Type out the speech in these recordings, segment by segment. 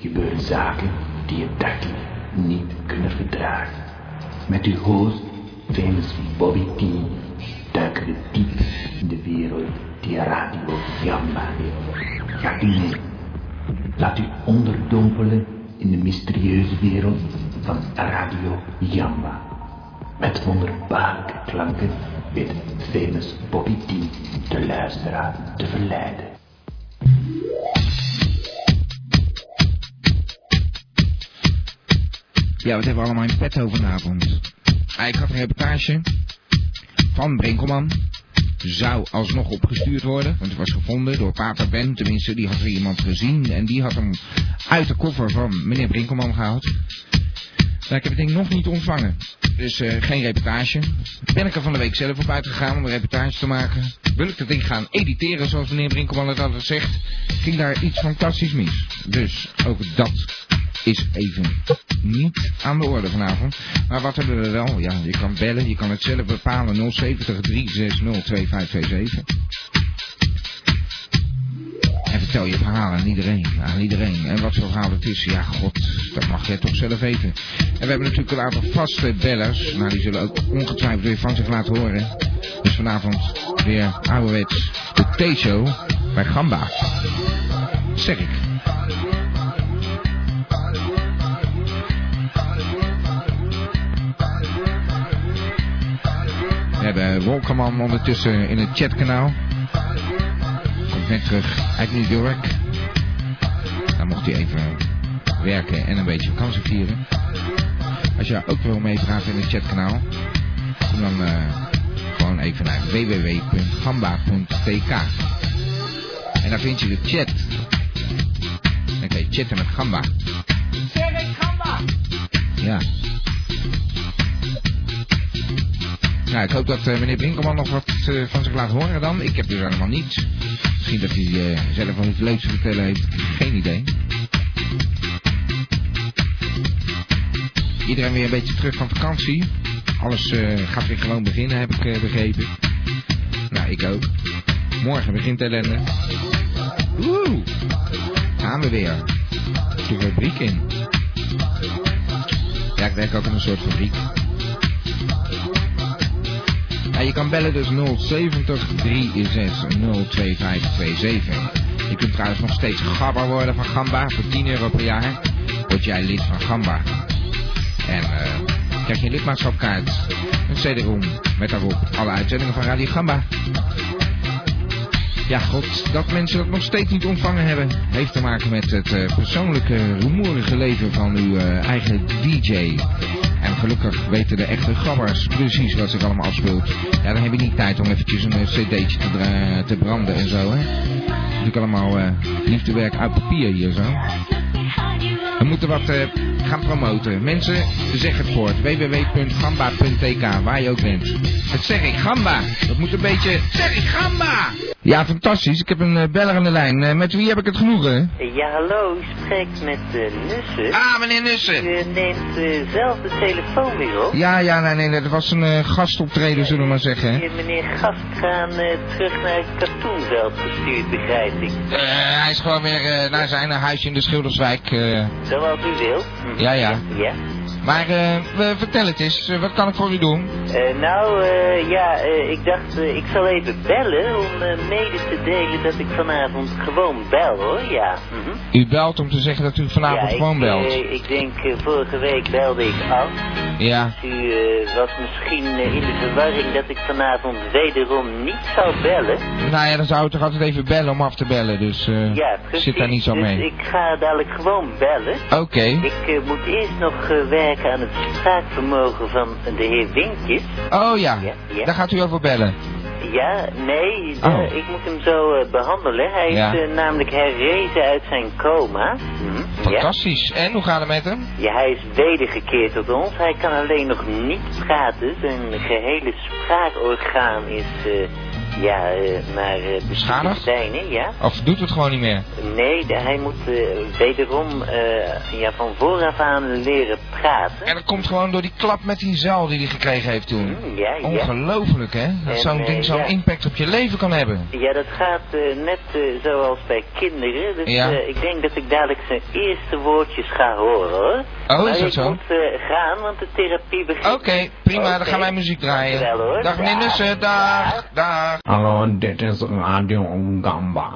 gebeuren zaken die je dagelijks niet kunnen verdragen. Met uw host, famous Bobby T, duiken we diep in de wereld die Radio Jamba heeft. Gaat u mee. Laat u onderdompelen in de mysterieuze wereld van Radio Jamba. Met wonderbaarlijke klanken weet famous Bobby T de luisteraar te verleiden. Ja, wat hebben we allemaal in petto vanavond? Ah, Ik had een reportage van Brinkelman. Zou alsnog opgestuurd worden, want het was gevonden door Pater Ben. Tenminste, die had er iemand gezien en die had hem uit de koffer van meneer Brinkelman gehaald. Maar ik heb het ding nog niet ontvangen. Dus eh, geen reportage. Ben ik er van de week zelf op uitgegaan om een reportage te maken. Wil ik dat ding gaan editeren, zoals meneer Brinkelman het altijd zegt, ging daar iets fantastisch mis. Dus ook dat is even niet aan de orde vanavond. Maar wat hebben we wel? Ja, je kan bellen, je kan het zelf bepalen. 070 360 2527. En vertel je verhaal aan iedereen. Aan iedereen. En wat voor verhaal het is, ja god, dat mag jij toch zelf weten. En we hebben natuurlijk een aantal vaste bellers. Nou, die zullen ook ongetwijfeld weer van zich laten horen. Dus vanavond weer ouderwets de T-show bij Gamba. Zeg ik. We hebben Wolkerman ondertussen in het chatkanaal. Komt net terug uit New York. Daar mocht hij even werken en een beetje vakantie vieren. Als jij ook wil meepraten in het chatkanaal, kom dan eh, gewoon even naar www.gamba.tk. En daar vind je de chat. Dan kan je chatten met Gamba. Ja. Nou, ik hoop dat eh, meneer Brinkelman nog wat eh, van zich laat horen dan. Ik heb dus helemaal niets. Misschien dat hij eh, zelf wel iets leuks te vertellen heeft. Geen idee. Iedereen weer een beetje terug van vakantie. Alles eh, gaat weer gewoon beginnen, heb ik eh, begrepen. Nou, ik ook. Morgen begint de ellende. Woe! Gaan we weer. De rubriek in. Ja, ik werk ook in een soort fabriek. Ja, je kan bellen dus 070 360 22527. Je kunt trouwens nog steeds gabber worden van Gamba. Voor 10 euro per jaar word jij lid van Gamba. En eh, krijg je een lidmaatschapkaart. Een CD-ROM met daarop alle uitzendingen van Radio Gamba. Ja, god, dat mensen dat nog steeds niet ontvangen hebben, heeft te maken met het eh, persoonlijke, rumoerige leven van uw eh, eigen DJ. En gelukkig weten de echte gabbers precies wat zich allemaal afspeelt. Ja, dan heb je niet tijd om eventjes een eh, cd'tje te, dra- te branden en zo, hè. Natuurlijk allemaal eh, liefdewerk uit papier hier, zo. We moeten wat eh, gaan promoten. Mensen, zeg het voort. www.gamba.tk, waar je ook bent. Het zeg ik, Gamba. Dat moet een beetje... Zeg ik, Gamba! Ja, fantastisch. Ik heb een eh, beller aan de lijn. Eh, met wie heb ik het genoegen? Ja, hallo, u spreekt met eh, Nussen. Ah, meneer Nussen. U eh, neemt eh, zelf de telefoon weer op. Ja, ja, nee, nee. Dat was een eh, gastoptreden, zullen we maar zeggen. hè. Eh, Meneer Gast gaan eh, terug naar het katoenveld gestuurd, begrijp ik. Eh, hij is gewoon weer eh, naar zijn huisje in de Schilderswijk. eh. Zoals u wilt. Hm. ja, ja. Ja. Maar eh, we- vertel het eens. Eh, wat kan ik voor u doen? Eh, nou, eh, ja, eh, ik dacht, eh, ik zal even bellen om eh, mede te delen dat ik vanavond gewoon bel, hoor, ja. Mhm. U belt om te zeggen dat u vanavond ja, gewoon ik, belt. eh, ik denk, eh, vorige week belde ik af. Ja. U eh, was misschien eh, in de verwarring dat ik vanavond wederom niet zou bellen. Nou ja, dan zou ik toch altijd even bellen om af te bellen. Dus eh, Ja, precies. zit daar niet zo dus mee. ik ga dadelijk gewoon bellen. Oké. Ik eh, moet eerst nog eh, werken aan het spraakvermogen van de heer Winkjes. Oh ja. Ja, ja. Daar gaat u over bellen. Ja, nee, Oh. eh, ik moet hem zo eh, behandelen. Hij Ja. is eh, namelijk herrezen uit zijn coma. Hm, ja. Fantastisch. En hoe gaat het met hem? ja, hij is wedergekeerd tot ons. Hij kan alleen nog niet praten. Zijn gehele spraakorgaan is eh, Ja, eh, maar eh, de Beschadigd? Filistijnen, ja. Of doet het gewoon niet meer? Nee, de- hij moet eh, wederom eh, ja, van vooraf aan leren praten. En dat komt gewoon door die klap met die zaal die hij gekregen heeft toen. Hm, ja, ja. Ongelooflijk, hè? Dat En, zo'n eh, ding zo'n ja. impact op je leven kan hebben. Ja, dat gaat eh, net eh, zoals bij kinderen. Dus Ja. eh, ik denk dat ik dadelijk zijn eerste woordjes ga horen hoor. Oh, maar is dat ik zo? moet eh, gaan, want de therapie begint. Oké, prima, dan Oké. gaan wij muziek draaien. Dankjewel, hoor. Dag meneer Nussen, dag, dag. Hallo, dit is Radio Gamba.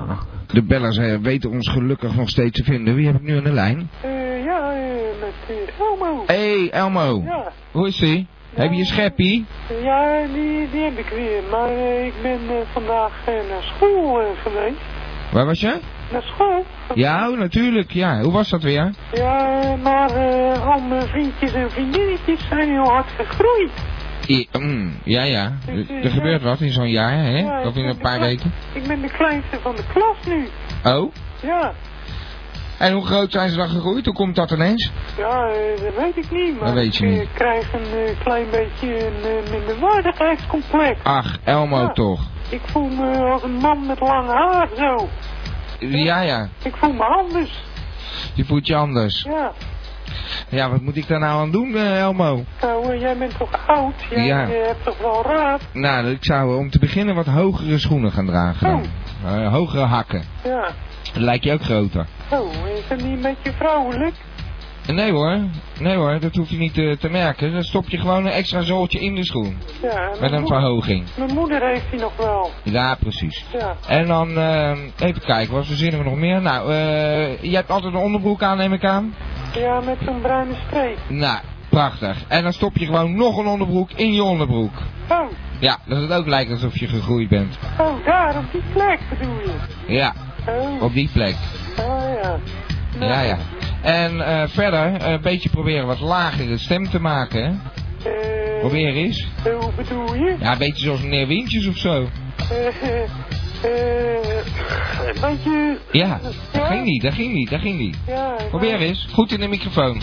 De bellers eh, weten ons gelukkig nog steeds te vinden. Wie heb ik nu aan de lijn? Eh, ja, eh, met eh, Elmo. Hé, hey, Elmo. Ja, Hoe is ie? Heb je je scheppie? ja die, die heb ik weer. Maar eh, ik ben eh, vandaag eh, naar school eh, geweest. Waar was je? Naar school? Ja, oh, natuurlijk, ja. Hoe was dat weer? Ja, eh, maar eh, al mijn vriendjes en vriendinnetjes zijn heel hard gegroeid. I- mm, ja, ja. Er, er gebeurt wat in zo'n jaar, Ja, hè? ik Of in ben een de paar klei- weken. Ik ben de kleinste van de klas nu. Oh? Ja, En hoe groot zijn ze dan gegroeid? Hoe komt dat ineens? ja eh, dat weet ik niet. Maar Dat weet je ik eh, niet. krijg een eh, klein beetje een eh, minderwaardigheidscomplex. Ach, Elmo Ja. toch. Ik voel me als een man met lang haar zo. Ja, ja. Ik voel me anders. Je voelt je anders. Ja. Ja, wat moet ik daar nou aan doen, eh, Elmo? Nou, eh, jij bent toch oud? Jij Ja. eh, hebt toch wel raad? Nou, ik zou eh, om te beginnen wat hogere schoenen gaan dragen. dan. Eh, hogere hakken. Ja. Dan lijkt je ook groter. Oh, is dat niet een beetje vrouwelijk? Nee hoor, nee hoor, dat hoef je niet eh, te merken. Dan stop je gewoon een extra zooltje in de schoen. Ja. en Met mijn een moed- verhoging. Mijn moeder heeft die nog wel. Ja, precies. Ja. En dan, ehm, even kijken, wat verzinnen we nog meer? Nou, eh, je hebt altijd een onderbroek aan, neem ik aan. Ja, met zo'n bruine streep. Nou, prachtig. En dan stop je gewoon nog een onderbroek in je onderbroek. Oh, Ja, dat het ook lijkt alsof je gegroeid bent. oh, daar op die plek bedoel je? Ja, Oh, op die plek. ah, ja. Nou, Ja, ja. En eh, verder, eh, een beetje proberen wat lagere stem te maken, hè. eh, Probeer eens. eh, hoe bedoel je? Ja, een beetje zoals meneer Windjes of zo. Eh, eh, eh, weet je... Ja, dat ging niet, dat ging niet, dat ging niet. Ja, nou. ik Probeer weet- eens. Goed in de microfoon.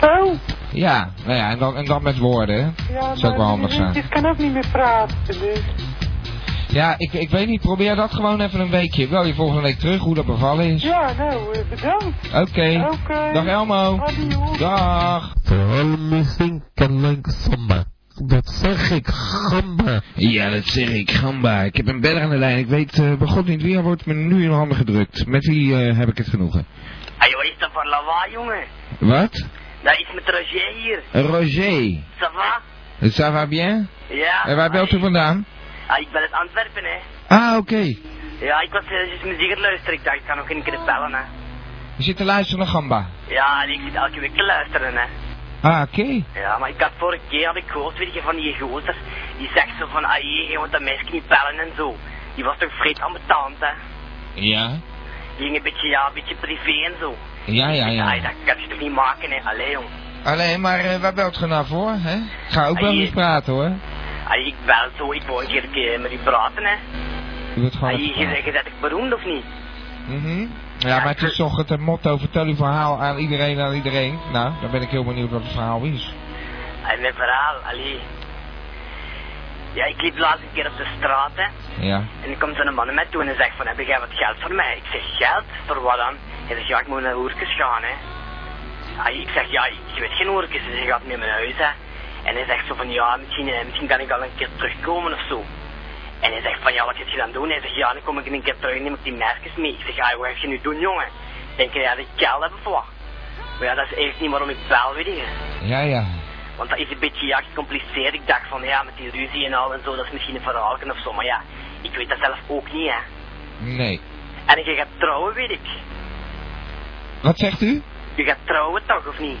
Zo? Ja, nou ja, en dan, en dan met woorden. hè. Oh, Ja, Zou ook wel handig zijn. Ik kan ook niet meer praten, dus... Ja, ik, ik weet niet. Probeer dat gewoon even een weekje. Wel je volgende week terug hoe dat bevallen is. Ja, nou, eh, bedankt. Oké. Oké. Dag Elmo. Adios. Dag. Vooral muziek en leuk samba. Dat zeg ik, gamba. Ja, dat zeg ik. Gamba. Ik heb een beller aan de lijn. Ik weet eh bij God niet wie er wordt me nu in handen gedrukt. Met wie eh, heb ik het genoegen? Hé, wat is dat voor lawaai, jongen? Wat? Dat is met Roger hier. Roger. Ça va? Ça va bien? Ja. En waar belt u Hey. vandaan? Ah, ik ben uit Antwerpen, hè. Ah, oké. Ja, ik was eh, juist muziek aan het luisteren. Ik dacht, ik kan nog een keer bellen, hè. Je zit te luisteren naar Gamba. Ja, en ik zit elke week te luisteren, hè. Ah, oké. Ja, maar ik had vorige keer, had ik gehoord, weet je, van die gozer. Die zegt zo van, ah, je moet dat meisje niet bellen en zo. Die was toch vreed aan mijn tand, hè. Ja. Die ging een beetje, ja, een beetje privé en zo. Ja, ja, Ai, ja. dat kan je toch niet maken, hè. Allee, jong. Alleen, maar eh, waar belt ge nou voor, hè? Ik ga ook wel Ai, eens eh. praten, hoor. Ai, Ah, ik bel zo, ik wou een keer eh, met u praten, hè. U wordt gewoon... Ai, even je praten. zegt, dat ik beroemd of niet? Mhm. Ja, maar het is toch het eh, motto, vertel uw verhaal aan iedereen, aan iedereen. Nou, dan ben ik heel benieuwd wat het verhaal is. En mijn verhaal, allee. Ja, ik liep de laatste keer op de straat, hè. Ja. En er komt zo'n man naar mij toe en hij zegt van, heb jij wat geld voor mij? Ik zeg, geld? Voor wat dan? Hij zegt, ja, ik moet naar Hoerkes gaan, hè. Ah, ik zeg, ja, ik weet geen Hoerkes, dus je gaat mee naar mijn huis, hè. En hij zegt zo van, ja, misschien, eh, misschien kan ik al een keer terugkomen of zo. En hij zegt van, ja, wat gaat je dan doen? Hij zegt, ja, dan kom ik een keer terug en neem ik die merkjes mee. Ik zeg, ah, wat ga je nu doen, jongen? Denk je dat ik geld heb of wat? Maar ja, dat is eigenlijk niet waarom ik bel, weet je. Ja, ja. Want dat is een beetje ja, gecompliceerd. Ik dacht van ja, met die ruzie en al en zo, dat is misschien een verhaal of zo. Maar ja, ik weet dat zelf ook niet, hè. Nee. En je gaat trouwen, weet ik. Wat zegt u? Je gaat trouwen toch, of niet?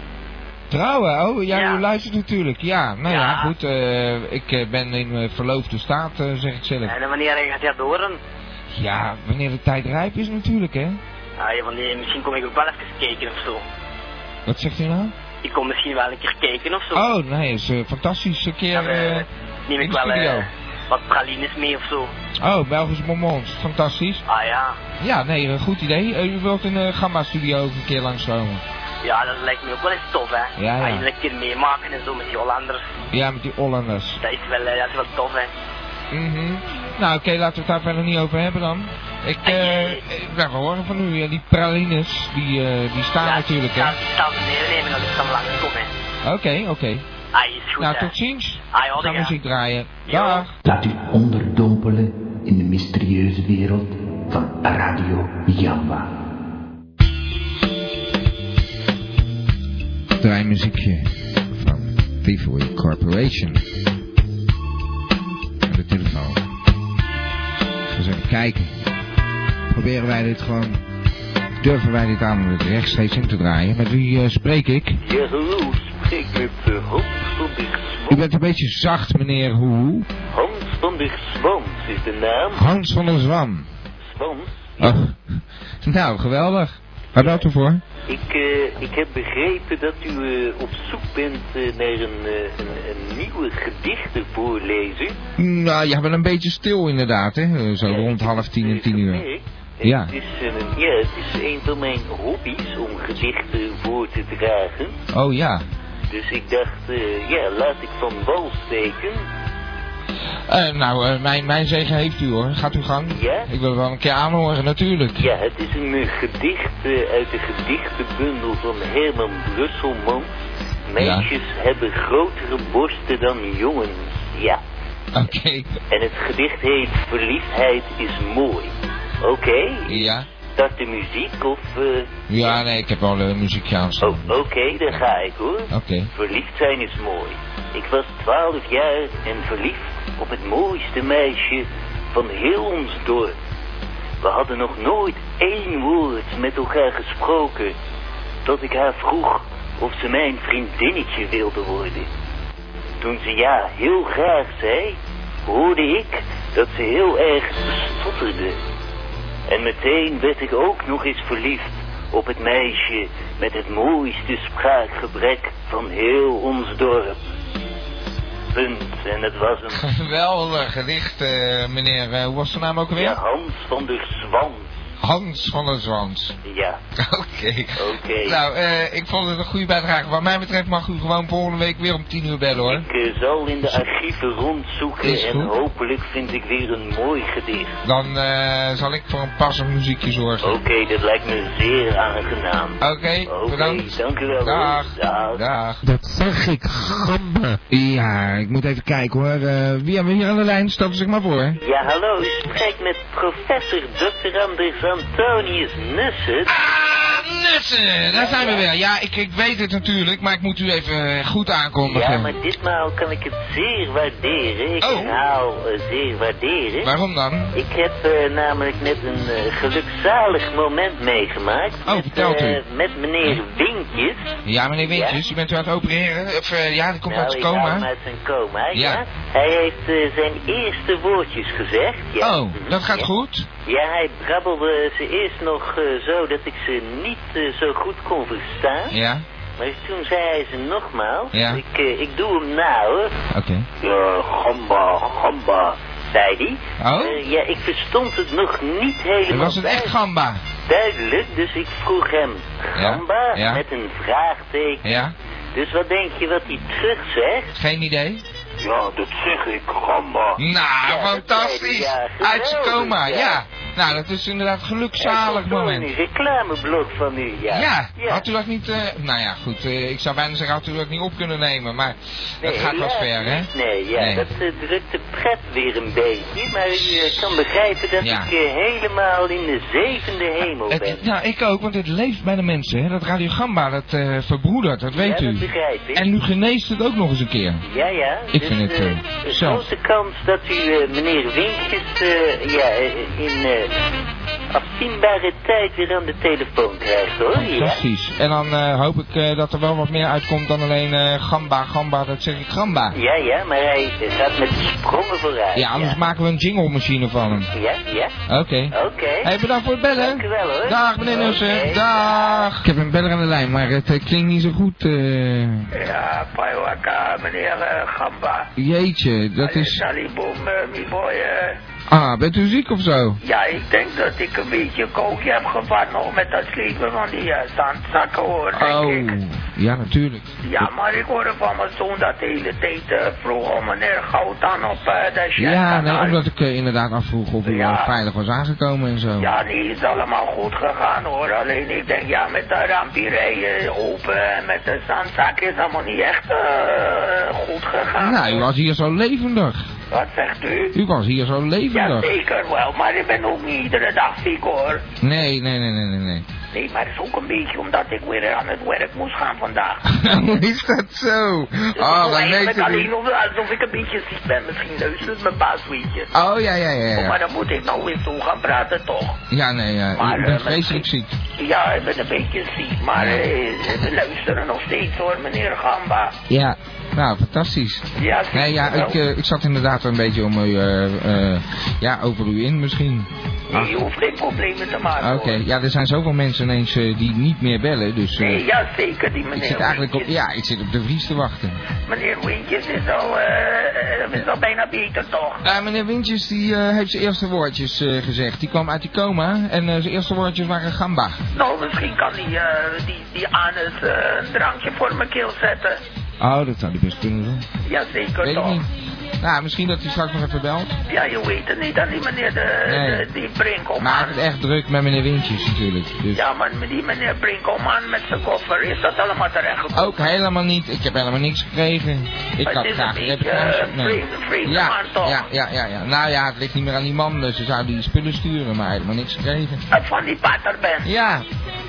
Trouwen? Oh, ja, Ja. u luistert natuurlijk. Ja, nou ja, Ja. goed. eh, ik eh, ben in eh, verloofde staat, eh, zeg ik zelf. En wanneer gaat dat door? dan? Ja, wanneer de tijd rijp is natuurlijk, hè. Ah, ja, wanneer, misschien kom ik ook wel even kijken of zo. Wat zegt u nou? Ik kom misschien wel een keer kijken of zo. Oh, nee, is eh, fantastisch. Een keer... Dan, eh, eh, in neem ik de wel eh, studio. wat pralines mee of zo. Oh, Belgische bonbons. Fantastisch. Ah ja, Ja, nee, een goed idee. Eh, u wilt in de Gamma-studio ook een keer langskomen. ja, dat lijkt me ook wel eens tof, hè. Ja, ja. Ah, je dat een keer meemaken en zo met die Hollanders. Ja, met die Hollanders. Dat is wel, eh, dat is wel tof, hè. Mhm. Nou, oké, laten we het daar verder niet over hebben dan. Ik, eh, eh, nou, we horen van u, eh, die pralines, die, eh, die staan natuurlijk, hè. Ja, dat is neernemen, dat is dan lang komen. Oké, oké. Hij is goed, Nou, hè. tot ziens. Hij Ik had ga ik, hè. muziek draaien. Ja. Dag. Laat u onderdompelen in de mysterieuze wereld van Radio Jamba. Draai muziekje van Thievery Corporation. Aan de telefoon. Dus even kijken. Proberen wij dit gewoon... Durven wij dit aan om het rechtstreeks in te draaien? Met wie eh, spreek ik? Ja, hallo, spreek met eh, Hans van der U Zwans. bent een beetje zacht, meneer Hoe. Hans van der Zwans is de naam. Hans van der Zwan. Zwans? Oh. Nou, geweldig. Waar belt u voor? Ik, eh, ik heb begrepen dat u eh, op zoek bent eh, naar een, eh, een, een nieuwe gedichtenvoorlezer. Nou, je bent een beetje stil inderdaad, hè? Eh, Zo Ja, ik rond heb half het, tien en eh, tien uur. gemerkt. En Ja. Het is, eh, een, ja, het is een van mijn hobby's om gedichten voor te dragen. Oh ja. Dus ik dacht, eh, ja, laat ik van wal steken. Eh, nou, eh, mijn, mijn zegen heeft u hoor. Gaat u gang. Ja? Ik wil het wel een keer aanhoren, natuurlijk. Ja, het is een eh, gedicht eh, uit de gedichtenbundel van Herman Brusselman. Meisjes hebben grotere borsten dan jongens. Ja. Oké. En het gedicht heet Verliefdheid is mooi. Oké, Ja? start de muziek of... eh, Ja, nee, ik heb al een muziekje aan staan. Oh, oké, daar ga ik hoor. Oké. Verliefd zijn is mooi. Ik was twaalf jaar en verliefd op het mooiste meisje van heel ons dorp. We hadden nog nooit één woord met elkaar gesproken. Tot ik haar vroeg of ze mijn vriendinnetje wilde worden. Toen ze ja heel graag zei, hoorde ik dat ze heel erg stotterde. En meteen werd ik ook nog eens verliefd op het meisje met het mooiste spraakgebrek van heel ons dorp. Punt, en het was een Geweldig gedicht, eh, meneer. eh, hoe was zijn naam ook weer? ja, Hans van der Zwans. Hans van der Zwans. Ja, Oké. oké. Nou, eh, ik vond het een goede bijdrage. Wat mij betreft mag u gewoon volgende week weer om tien uur bellen hoor. Ik eh, zal in de archieven rondzoeken Is en goed. hopelijk vind ik weer een mooi gedicht. Dan eh, zal ik voor een passend muziekje zorgen. Oké, dat lijkt me zeer aangenaam. Oké, Oké, bedankt. dank u wel. hoor. Dag. Dag. Dag. Dat zag ik gamma. Ja, ik moet even kijken hoor. Eh, wie hebben we hier aan de lijn? Stel zich maar voor. Ja, hallo, u spreekt met professor Dr. Anders Antonius Nussen. Ah, Nussen, daar zijn we weer. Ja, ik, ik weet het natuurlijk, maar ik moet u even eh, goed aankondigen. Ja, maar ditmaal kan ik het zeer waarderen. Ik Oh. herhaal eh, zeer waarderen. Waarom dan? Ik heb eh, namelijk net een eh, gelukzalig moment meegemaakt. Oh, met, vertelt u. Hm. eh, met meneer Winkjes. Ja, meneer Wintjes, u bent u aan het opereren? Of, eh, ja, die komt uit nou, zijn ik haal hem coma. uit zijn coma, ja. Ja. Hij heeft eh, zijn eerste woordjes gezegd. Ja. Oh, dat gaat Ja. goed. Ja, hij brabbelde ze eerst nog eh, zo dat ik ze niet eh, zo goed kon verstaan. Ja, Maar toen zei hij ze nogmaals. Ja. Ik, eh, ik doe hem na hoor. oké. Ja, gamba, gamba, zei hij. Oh? Eh, ja, ik verstond het nog niet helemaal. Dan was het echt duid- gamba. Duidelijk, dus ik vroeg hem gamba ja. met een vraagteken. Ja, Dus wat denk je wat hij terug zegt? geen idee. Ja, dat zeg ik, gamba. Nou, Ja, dat fantastisch. zei hij, ja, uit zijn geweldig, coma, ja. ja. Nou, dat is inderdaad een gelukzalig moment. Een reclameblok van u, ja. Ja, had u dat niet... eh, nou ja, goed, eh, ik zou bijna zeggen, had u dat niet op kunnen nemen, maar dat Nee, gaat wel helaas ver, hè? niet. Nee, ja, Nee. dat eh, drukt de pret weer een beetje. Maar je kan begrijpen dat Ja. ik eh, helemaal in de zevende hemel Het- ben. nou, ik ook, want het leeft bij de mensen, hè? Dat Radio Gamba, dat eh, verbroedert, dat weet ja, u. dat begrijp ik. En nu geneest het ook nog eens een keer. Ja, ja. Ik dus, vind het, eh, eh, een zelf. grote kans dat u eh, meneer Winkjes eh, ja, eh, in eh, afzienbare tijd weer aan de telefoon krijgt, Oh, hoor. Ja. Fantastisch. En dan eh, hoop ik eh, dat er wel wat meer uitkomt dan alleen eh, Gamba, Gamba, dat zeg ik Gamba. ja, ja, maar hij eh, gaat met sprongen vooruit. Ja, anders maken we een jingle machine van hem. Ja, ja. Oké. Oké. Hey, bedankt voor het bellen. Dank u wel, hoor. Dag meneer Nussen. Oké, Dag. Ik heb een beller aan de lijn, maar het eh, klinkt niet zo goed. eh. Ja, Paiwaka, meneer eh, Gamba. Jeetje, dat is... Saliboom, eh, mi boy. eh. Ah, bent u ziek of zo? Ja, ik denk dat ik een beetje kookje heb gevat nog met dat sliepen van die eh, zandzakken hoor, denk ik. Oh, ja natuurlijk. Ja, maar ik hoorde van mijn zoon dat de hele tijd eh, vroeg om meneer Goud dan op eh de chat. Ja, dan nee, uit. omdat ik eh, inderdaad afvroeg of u Ja. wel veilig was aangekomen en zo. Ja, die is allemaal goed gegaan hoor. Alleen ik denk, ja, met de rampierij eh, open en met de zandzak is allemaal niet echt eh, goed gegaan. Nou, u was hier zo levendig. Wat zegt u? U was hier zo Ja, levendig. zeker wel, maar ik ben ook niet iedere dag ziek hoor. Nee, nee, nee, nee, nee. nee. Nee, maar het is ook een beetje omdat ik weer aan het werk moest gaan vandaag. Hoe is dat zo? Dus ik Oh, doe dat eigenlijk weet ik alleen niet. of, alsof ik een beetje ziek ben. Misschien luistert mijn baas weet je. Oh, ja, ja, ja. Maar Ja, dan moet ik nou weer toe gaan praten toch. ja nee, ja. Maar, U bent eh, vreselijk ziek. Ja, ik ben een beetje ziek, maar eh, we luisteren nog steeds hoor, meneer Gamba. Ja. Nou, fantastisch. Ja, zie Nee, je ja, wel. ik, eh, ik zat inderdaad een beetje om u, eh, eh, ja, over u in misschien. Nee, je hoeft geen problemen te maken eh, Oké, hoor. ja, er zijn zoveel mensen ineens eh, die niet meer bellen, dus... eh, Nee, ja, zeker die meneer ik zit eigenlijk op, Wintjes. ja, ik zit op de Vries te wachten. Meneer Wintjes is al, eh, eh, is al bijna beter toch? Eh, meneer Wintjes die eh, heeft zijn eerste woordjes eh, gezegd. Die kwam uit die coma en eh, zijn eerste woordjes waren gamba. Nou, misschien kan die, eh, die, die anus eh, een drankje voor mijn keel zetten. Oh, dat zou die best kunnen doen. Ja, zeker Weet ik toch? niet. Nou, misschien dat hij straks nog even belt. Ja, je weet het niet dat die meneer de, Nee. de- die Brinkelman... Maar het is echt druk met meneer Wintjes natuurlijk. Dus Ja, maar die meneer Brinkelman met zijn koffer, is dat allemaal terechtgekomen? ook helemaal niet. Ik heb helemaal niks gekregen. Oh, Ik Het had is graag een een beetje, reportage. eh, vreemde- vreemde Ja, man toch? ja, ja, ja, ja. Nou ja, het ligt niet meer aan die man. Dus ze zouden die spullen sturen, maar helemaal niks gekregen. Eh, Van die pater ben. Ja.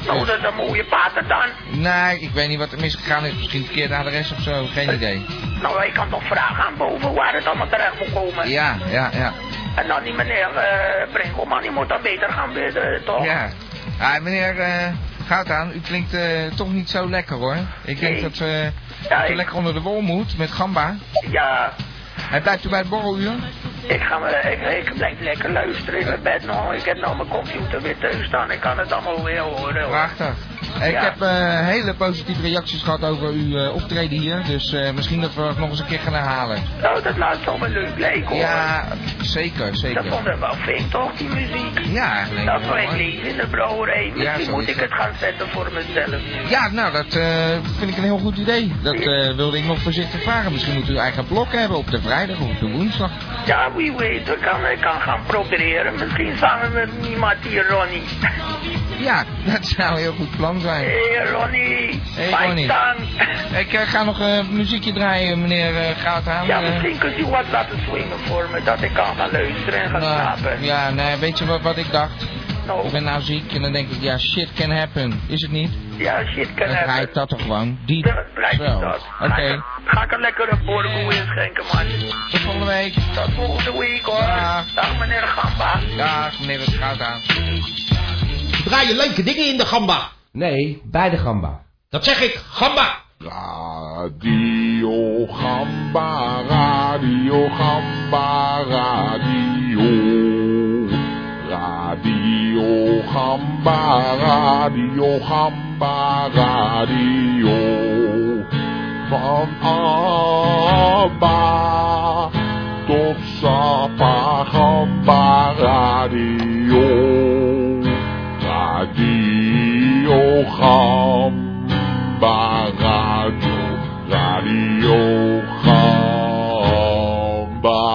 Nou, dat is een mooie pater dan. Nee, ik weet niet wat er misgegaan is. Misschien verkeerd adres of zo. Geen idee. Nou, ik kan toch vragen aan boven waar het allemaal terecht moet komen. Ja, ja, ja. En dan die meneer eh Brinkelman, die moet dan beter gaan bidden, toch? Ja. Ah, meneer eh, Goutaan, u klinkt eh, toch niet zo lekker hoor. Ik denk Nee. dat eh, Ja, dat u ik- lekker onder de wol moet met Gamba. Ja, Hij blijft u bij het borreluur? ik, ga, me- ik, ik blijf lekker luisteren in mijn bed nog. Ik heb nou mijn computer weer thuis staan, ik kan het allemaal weer horen. hoor. Prachtig. Ik Ja. heb eh, hele positieve reacties gehad over uw eh, optreden hier. Dus eh, misschien dat we het nog eens een keer gaan herhalen. Nou, dat laat zomaar leuk lijken hoor. Ja, zeker, Dat vond zeker. ik wel fijn toch, die muziek? Ja, eigenlijk. Dat is wel, mijn hoor. leven in de brouwerij. Misschien zo moet is ik het. het gaan zetten voor mezelf nu. Ja, nou, dat eh, vind ik een heel goed idee. Dat eh, wilde ik nog voorzichtig vragen. Misschien moet u uw eigen blok hebben op de vrijdag of op de woensdag. Ja, wie weet, ik kan, ik kan gaan proberen. Misschien samen met iemand hier, Ronnie. Ja, dat zou een heel goed plan zijn. Hé, hey, Ronnie. Hey, mijn Ronnie. tang. Ik eh, ga nog eh, muziekje draaien, meneer eh Goudhaan. Ja, Eh, misschien kunt u wat laten swingen voor me, dat ik kan gaan luisteren en gaan nou, slapen. ja, nee, weet je wat, wat ik dacht? Nou, Ik ben nou ziek en dan denk ik, ja, shit can happen. Is het niet? ja, shit Dan kan hebben. draai ik dat toch gewoon. Die Ja, blijkt wel. dat. Oké, Ga ik- Ga ik een lekkere borrel inschenken, man. tot volgende week. Tot volgende week, hoor. Ja. Dag, meneer Gamba. Dag, meneer Goudhaan. Draai je leuke dingen in de gamba. Nee, bij de gamba. Dat zeg ik, gamba. Radio Gamba, Radio Gamba, Radio. Radio Gamba, Radio Gamba, Radio. Van Abba tot Sapa Gamba, Radio. Radio Gamba, Radio. Radio Gamba.